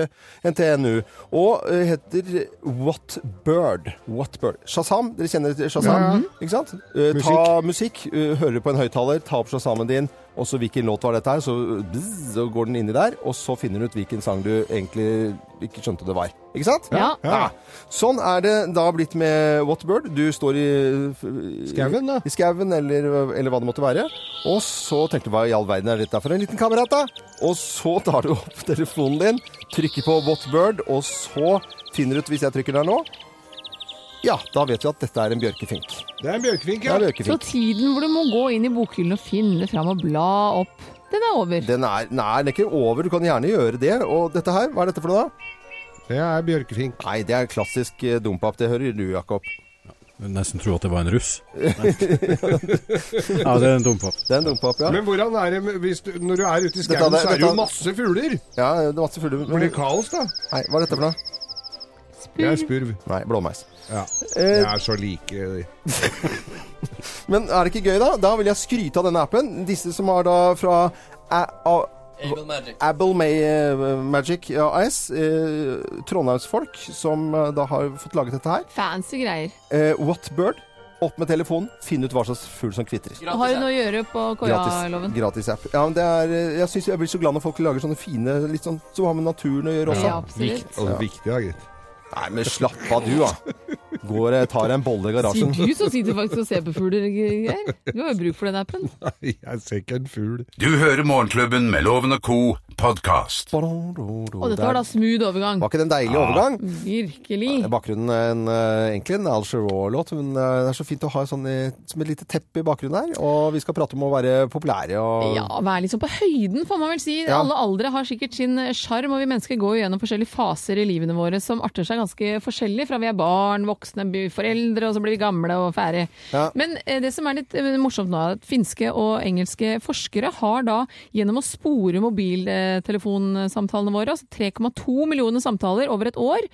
S2: NTNU. Og eh, heter Whatbird. Whatbird. Shazam, dere kjenner til Shazam?
S4: Ja, ja.
S2: Ikke sant? Eh, Ta musikk, eh, hører på en høyttaler, ta opp Shazamen din, og så hvilken låt var dette her, så, bzz, så går den inni der, og så finner du ut hvilken sang du egentlig ikke skjønte det var. Ikke sant?
S3: Ja. Ja.
S2: Sånn er det da blitt med Whatbird. Du står i Skauen, da. I skauen, eller, eller hva det måtte være. Og så tenkte du hva i all verden er dette for en liten kamerat, da? Og så tar du opp telefonen din, trykker på Whatbird, og så finner du ut, hvis jeg trykker der nå Ja, da vet vi at dette er en bjørkefink.
S4: Det er en bjørkefink,
S2: Det er
S3: Så
S2: bjørkefink.
S3: tiden hvor du må gå inn i bokhyllen og finne fram og bla opp, den er over.
S2: Den er, nei, den er ikke over. Du kan gjerne gjøre det. Og dette her, hva er dette for noe, da?
S4: Det er bjørkefink.
S2: Nei, det er klassisk eh, dompap. Det hører du, Jakob.
S7: Jeg Nesten tro at det var en russ.
S2: ja,
S7: ja, det er en dompap.
S2: Det er en dompap, ja.
S4: Men hvordan er det med- hvis du, når du er ute i
S2: Dette
S4: skauen,
S2: er-
S4: så er det
S2: dette
S4: jo
S2: er-
S4: masse fugler?
S2: Ja, det er masse fugler. men-
S4: Blir det kaos, da?
S2: Nei, hva er dette for noe?
S4: Det er spurv.
S2: Nei, blåmeis.
S4: Ja.
S2: Eh,
S4: Jeg er så like eh, de.
S2: Men er det ikke gøy, da? Da vil jeg skryte av denne appen. Disse som er da fra A- A-
S8: Able Magic.
S2: Abel May eh, Magic AS, eh, trondheimsfolk, som eh, da har fått laget dette her.
S3: Fancy greier.
S2: Eh, Whatbird, opp med telefonen, finn ut hva slags fugl som kvitrer.
S3: Har du noe å gjøre på
S2: Gratis,
S3: Koya-loven?
S2: gratis app. Ja, men det er, eh, jeg, synes jeg blir så glad når folk lager sånne fine litt sånn, Som har med naturen å gjøre også.
S3: Ja, absolutt.
S4: Vikt- altså, viktig, da, gitt.
S2: Nei, men slapp av du, da. Går og tar deg en bolle i garasjen.
S3: Sier du som sitter faktisk og ser på fugler, Geir? Du har jo bruk for den appen.
S4: Jeg ser ikke en fugl.
S1: Du hører Morgenklubben med Loven og co. podkast.
S3: Og dette var da smooth overgang.
S2: Var ikke det en deilig overgang?
S3: Virkelig.
S2: I bakgrunnen en, eh, egentlig en Al Jarreau-låt, men eh, det er så fint å ha sånn i, som et lite teppe i bakgrunnen her. Og vi skal prate om å være populære og
S3: Ja, være liksom på høyden, får man vel si.
S2: Ja.
S3: Alle aldre har sikkert sin eh, sjarm, og vi mennesker går jo gjennom forskjellige faser i livene våre som arter seg ganske forskjellig. Fra vi er barn, voksne, blir foreldre, og så blir vi gamle og fære. Men eh, det som er litt eh, morsomt nå, er at finske og engelske forskere har da gjennom å spore mobiltelefonsamtalene våre, altså 3,2 millioner samtaler over et år,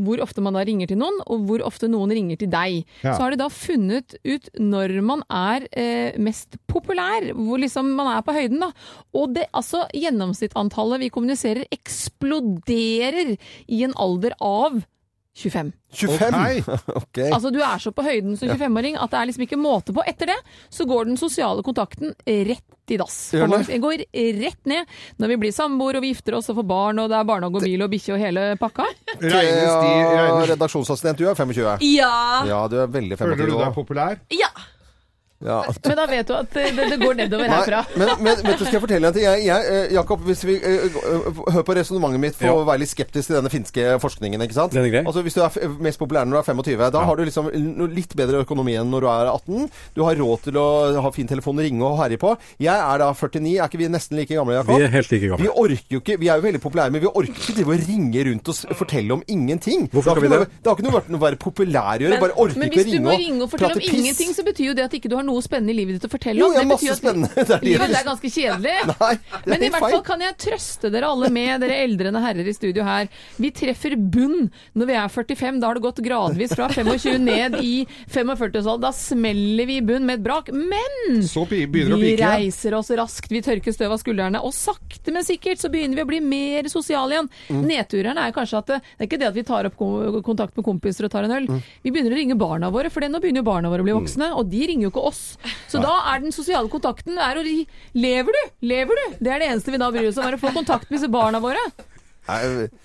S3: hvor ofte man da ringer til noen, og hvor ofte noen ringer til deg.
S15: Ja.
S3: Så har de da funnet ut når man er eh, mest populær, hvor liksom man er på høyden. da. Og det, altså, gjennomsnittantallet vi kommuniserer eksploderer i en alder av 25.
S2: 25! Ok.
S3: Altså Du er så på høyden som
S2: Ja.
S3: 25-åring at det er liksom ikke måte på. Etter det så går den sosiale kontakten rett i dass.
S2: Gjør den det?
S3: Det går rett ned når vi blir samboere og vi gifter oss og får barn og det er barnehage og bil og bikkje og hele pakka.
S2: Thea, redaksjonsassistent, du er 25.
S3: Ja.
S2: Ja, du er veldig 25.
S4: Føler du
S2: også.
S4: deg populær?
S3: Ja.
S2: Ja.
S3: Men da vet du at eh, det, det går nedover herfra.
S2: Nei, men, men vet du, skal jeg fortelle deg at jeg, jeg eh, Jakob, hvis vi eh, eh, Hør på resonnementet mitt for
S7: Ja.
S2: å være litt skeptisk til denne finske forskningen, ikke sant? Altså, hvis du er f mest populær når du er 25, da har du liksom no- litt bedre økonomi enn når du er 18. Du har råd til å ha fin telefon, ringe og herje på. Jeg er da 49, er ikke vi nesten like gamle, Jakob?
S7: Vi er helt like gamle.
S2: Vi orker jo ikke, vi er jo veldig populære, men vi orker ikke til å ringe rundt og s- fortelle om ingenting.
S7: Hvorfor
S2: Det har
S7: skal vi
S2: ikke noe- Det har ikke noe vært noe å være populær å gjøre, bare orker
S3: men
S2: ikke å
S3: hvis du må
S2: ringe
S3: ringe og
S2: og
S3: fortelle
S2: prate
S3: om
S2: piss.
S3: ingenting, så betyr jo det at ikke du har noe spennende i livet ditt å fortelle
S2: Jo,
S3: om.
S2: jeg har
S3: Det betyr
S2: masse spennende. Det er
S3: at
S2: det jeg
S3: livet
S2: gjør.
S3: er ganske kjedelig.
S2: er
S3: men i
S2: helt
S3: hvert
S2: feil.
S3: fall kan jeg trøste dere alle med, dere eldrende herrer i studio her. Vi treffer bunn når vi er 45. Da har det gått gradvis fra 25 ned i 45-årsalderen. Da smeller vi i bunn med et brak. Men
S4: Så pi- begynner det å
S3: vi
S4: pike.
S3: reiser oss raskt, vi tørker støv av skuldrene, og sakte, men sikkert så begynner vi å bli mer sosiale igjen.
S14: Mm.
S3: Nedturene er kanskje at det, det er ikke det at vi tar opp ko- kontakt med kompiser og tar en øl.
S4: Mm.
S3: Vi begynner å ringe barna våre, for det- nå begynner jo barna våre å bli voksne, og de ringer jo ikke oss. Så da er den sosiale kontakten er å ri Lever du? Lever du? Det er det eneste vi da bryr oss om, er å få kontakt med disse barna våre.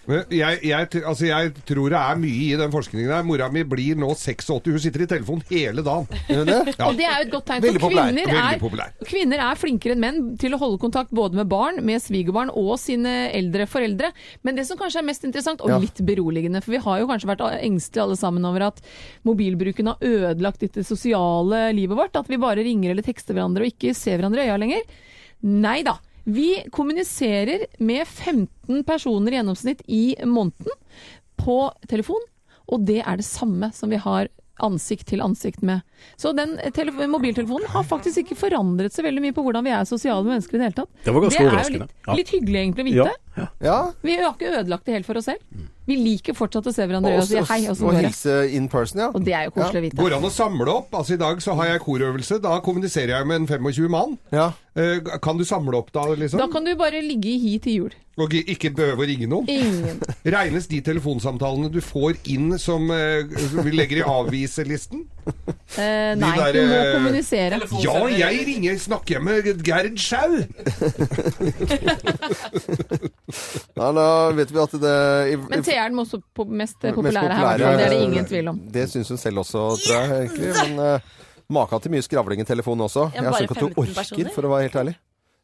S4: Men Jeg, jeg, t- altså jeg tror det er mye i den forskningen der. Mora mi blir nå 86. Hun sitter i telefonen hele dagen. Ja.
S3: Og det er jo et godt tegn.
S4: Veldig
S3: For
S4: populær.
S3: kvinner
S4: Veldig
S3: er,
S4: populær.
S3: kvinner er flinkere enn menn til å holde kontakt både med barn, med svigerbarn og sine eldre foreldre. Men det som kanskje er mest interessant, og
S14: Ja.
S3: litt beroligende, for vi har jo kanskje vært engstelige alle sammen over at mobilbruken har ødelagt litt det sosiale livet vårt. At vi bare ringer eller tekster hverandre og ikke ser hverandre i øya lenger. Nei da. Vi kommuniserer med 15 personer i gjennomsnitt i måneden på telefon, og det er det samme som vi har ansikt til ansikt med. Så den tele- mobiltelefonen har faktisk ikke forandret seg veldig mye på hvordan vi er sosiale mennesker i det hele tatt.
S7: Det var ganske
S3: er jo
S7: overraskende.
S3: Litt,
S7: Ja.
S3: litt hyggelig egentlig å vite.
S7: Ja. Mm.
S3: Vi har ikke ødelagt det helt for oss selv. Vi liker fortsatt å se
S2: Og-
S3: hverandre i øya og si hei, og så går det.
S2: in person, ja.
S3: Og det er jo koselig å vite.
S4: Går an å samle opp? Altså I dag så har jeg korøvelse. Da kommuniserer jeg med en 25 mann. Eh, Kan du samle opp da, liksom?
S3: Da kan du bare ligge i hi til jul.
S4: Og ikke- ikke behøve å ringe noen?
S3: Ingen.
S4: Regnes de telefonsamtalene du får inn som, eh, som vi legger i avviselisten?
S3: Eh,
S4: De
S3: nei,
S4: der,
S3: du må
S4: eh,
S3: kommunisere.
S4: Ja, jeg ringer, snakker jeg med Gerd Schau?
S2: Ja, da vet vi at det i-
S3: Men Thea er den også po- mest
S2: mest
S3: populære her, i hvert fall. Det er det ingen tvil om.
S2: Det syns hun selv også, tror jeg. egentlig. Men eh, maka til mye skravling i telefonen også.
S3: Ja,
S2: jeg
S3: bare
S2: syns ikke at du
S3: 15
S2: orker,
S3: personer.
S2: for å være helt ærlig.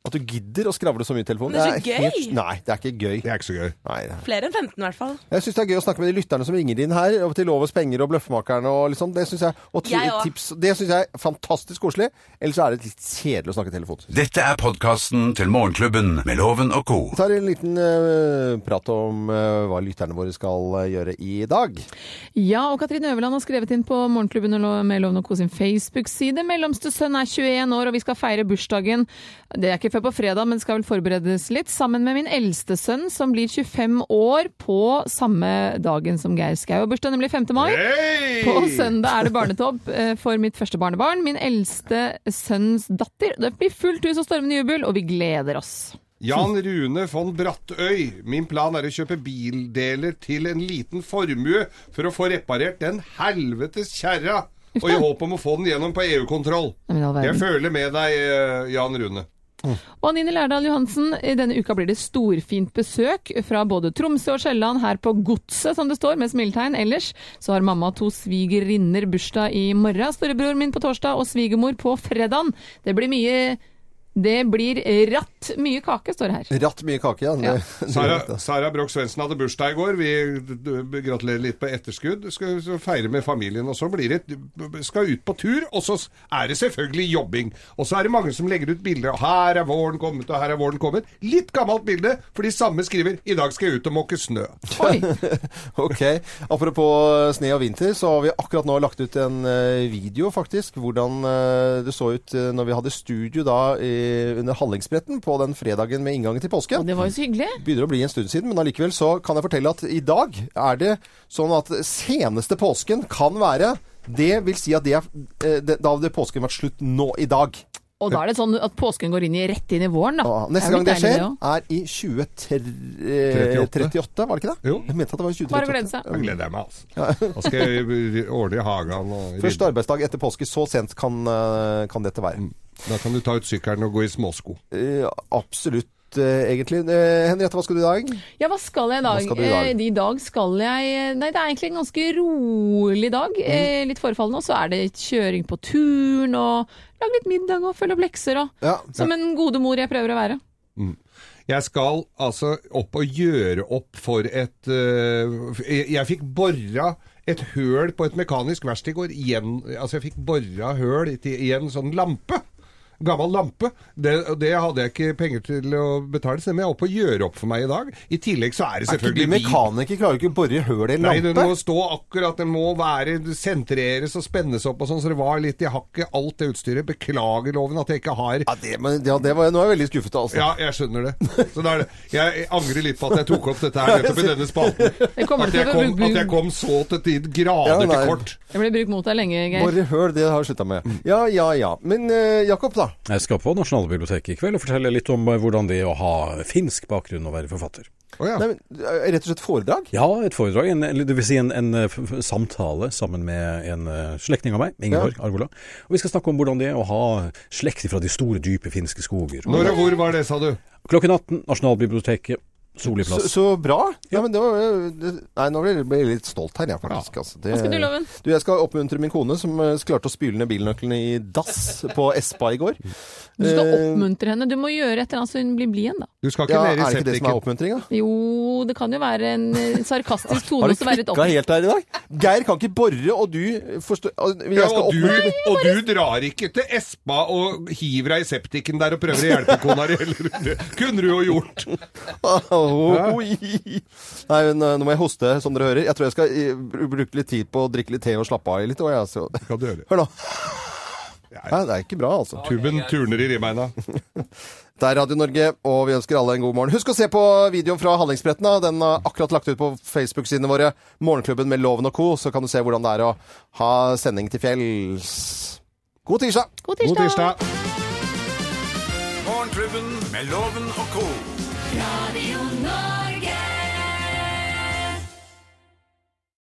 S2: At du gidder å skravle så mye i telefonen.
S11: Men det er så
S2: helt-
S11: gøy!
S2: nei, det er ikke gøy.
S4: Det er ikke så gøy.
S2: Nei, det er-
S11: Flere enn 15 i hvert fall.
S2: jeg syns det er gøy å snakke med de lytterne som ringer inn her, og til Lovers penger og Bløffmakerne og liksom. Det syns jeg, og ti-
S11: Jeg også.
S2: tips, det synes jeg er fantastisk koselig. Ellers så er det litt kjedelig å snakke i telefonen.
S1: Dette er podkasten til Morgenklubben med Loven og co.
S2: Vi tar en liten eh, prat om eh, hva lytterne våre skal eh, gjøre i dag.
S3: Ja, og Katrine Øverland har skrevet inn på Morgenklubben og Lo- med Loven og Co sin Facebook-side. Mellomste sønn er 21 år, og vi skal feire bursdagen. Det er ikke før på fredag, men det skal vel forberedes litt. Sammen med min eldste sønn, som blir 25 år på samme dagen som Geir Skau. Og Bursdag nemlig 5. mai. På søndag er det barnetopp eh, for mitt første barnebarn, min eldste sønns datter. Det blir fullt hus og stormende jubel, og vi gleder oss.
S4: Jan Rune von Brattøy, min plan er å kjøpe bildeler til en liten formue for å få reparert den helvetes kjerra, og i håp om å få den gjennom på EU-kontroll.
S3: Ja, men i all verden.
S4: Jeg føler med deg, eh, Jan Rune.
S3: Og Anine Lærdal Johansen, i denne uka blir det storfint besøk fra både Tromsø og Sjælland her på Godset, som det står, med smiletegn. Ellers så har mamma og to svigerinner bursdag i morgen. Storebror min på torsdag og svigermor på fredag. Det blir mye Det blir ratt mye kake, står det her.
S2: Ratt mye kake, ja. Det-
S4: Sara, Sara Broch Svendsen hadde bursdag i går. Vi d- d- gratulerer litt på etterskudd. Skal så feire med familien, og så blir det Skal ut på tur, og så s- er det selvfølgelig jobbing. Og så er det mange som legger ut bilder. og Her er våren kommet, og her er våren kommet. Litt gammelt bilde, for de samme skriver 'I dag skal jeg ut og måke snø'.
S2: Ok. Apropos sne og vinter, så har vi akkurat nå lagt ut en eh, video, faktisk, hvordan eh, det så ut eh, når vi hadde studio da i, under Hallingsbretten på den fredagen med inngangen til påske.
S3: Det var jo så hyggelig.
S2: Begynner å bli en stund siden, men allikevel så kan jeg fortelle at i dag er det sånn at seneste påsken kan være Det vil si at det er, eh, det, da hadde påsken vært slutt nå i dag.
S3: Og da er det sånn at påsken går inn i, rett inn i våren, da.
S2: Neste
S3: jo
S2: gang det
S3: litt deilig,
S2: skjer, er i 2038, var det ikke det? Jeg mente at det var i
S3: Bare glede seg.
S4: Da
S2: 2038.
S4: gleder jeg meg, altså. Da skal jeg r- ordne i hagen og rydde.
S2: Første arbeidsdag etter påske, så sent kan, eh, kan dette være.
S4: Da kan du ta ut sykkelen og gå i småsko.
S2: Eh, absolutt. ut, eh, egentlig. Eh, Henriette, hva skal du i dag?
S3: Ja, hva skal jeg i dag?
S2: Hva skal du i dag?
S3: Eh, I dag skal jeg eh, Nei, det er egentlig en ganske rolig dag.
S2: Mm.
S3: Eh, Litt forefallende. Og så er det kjøring på turen og lage litt middag og følge opp lekser og
S4: Ja.
S3: Som en gode mor jeg prøver å være.
S4: Mm. Jeg skal altså opp og gjøre opp for et øh, Jeg, jeg fikk bora et høl på et mekanisk verksted i går. Igjen, altså jeg fikk bora høl til, i en sånn lampe. Gammel lampe. Det, og det hadde jeg ikke penger til å betale, så det må jeg opp og gjøre opp for meg i dag. I tillegg så er det
S2: Er ikke
S4: selvfølgelig
S2: du mekaniker? Klarer du ikke å bore høl i en
S4: Nei,
S2: lampe?
S4: den må stå akkurat, den må være sentreres og spennes opp og sånn, så det var litt i hakket, alt det utstyret. Beklager loven at jeg ikke har Ja,
S2: det, var, nå er jeg veldig skuffet, altså.
S4: Ja, jeg skjønner det. Så da er det. Jeg angrer litt på at jeg tok opp dette her nettopp i denne spalten. At jeg kom, at jeg kom så til de grader
S2: Ja, nei.
S4: til kort.
S3: Jeg ble brukt mot deg lenge, Geir.
S2: Bore høl, det har jeg slutta med. Ja, ja, ja. Men eh, Jakob, da?
S7: Jeg skal på Nasjonalbiblioteket i kveld og fortelle litt om eh, hvordan det er å ha finsk bakgrunn og være forfatter.
S2: Nei, men, eh, rett og slett foredrag?
S7: Ja, et foredrag, en, eller det vil si en, en eh, f- f- samtale sammen med en eh, slektning av meg, Ingeborg Arvola. Og vi skal snakke om hvordan det er å ha slekt fra de store, dype finske skoger.
S4: Når og hvor var det, sa du?
S7: Klokken 18, Nasjonalbiblioteket, Solli
S2: Så,
S7: plass.
S2: så bra. Ja, men det var, det- nei, nå ble jeg- ble jeg litt stolt her, jeg, faktisk. Altså. Det-
S3: Hva skal du, Loven?
S2: Du, jeg skal oppmuntre min kone, som eh, klarte å spyle ned bilnøklene i dass på Espa i går.
S3: Du skal
S2: Eh,
S3: oppmuntre henne. Du må gjøre et eller annet så hun blir blid igjen, da.
S4: Du skal
S2: ja,
S4: ikke ned i
S2: Er det ikke det som er
S4: septiken.
S2: oppmuntringa?
S3: Jo, det kan jo være en eh, sarkastisk
S2: Har
S3: tone
S2: du
S3: også være litt
S2: klikka
S3: opp...
S2: helt her i dag? Geir kan ikke bore, og du forstår altså,
S4: Ja,
S2: jeg skal
S4: og, du,
S2: oppmuntre
S4: og du drar ikke til Espa og hiver deg i septiken der og prøver å hjelpe kona di heller. Det kunne du jo gjort.
S2: Au, oi. Nei, men, eh, nå må jeg hoste, som dere hører. Jeg tror jeg skal eh, br- bruke litt tid på å drikke litt te og slappe av litt. Og jeg, så. Hør nå. Nei, det er ikke bra, altså.
S4: Tuben turner i ribbeina.
S2: Det er Radio Norge, og vi ønsker alle en god morgen. Husk å se på videoen fra Handlingsbretten. da. Den er akkurat lagt ut på Facebook-sidene våre. Morgenklubben med Loven og co. Så kan du se hvordan det er å ha sending til fjells. God tirsdag!
S1: God tirsdag. Morgenklubben med Loven og co.
S10: Radio Norge.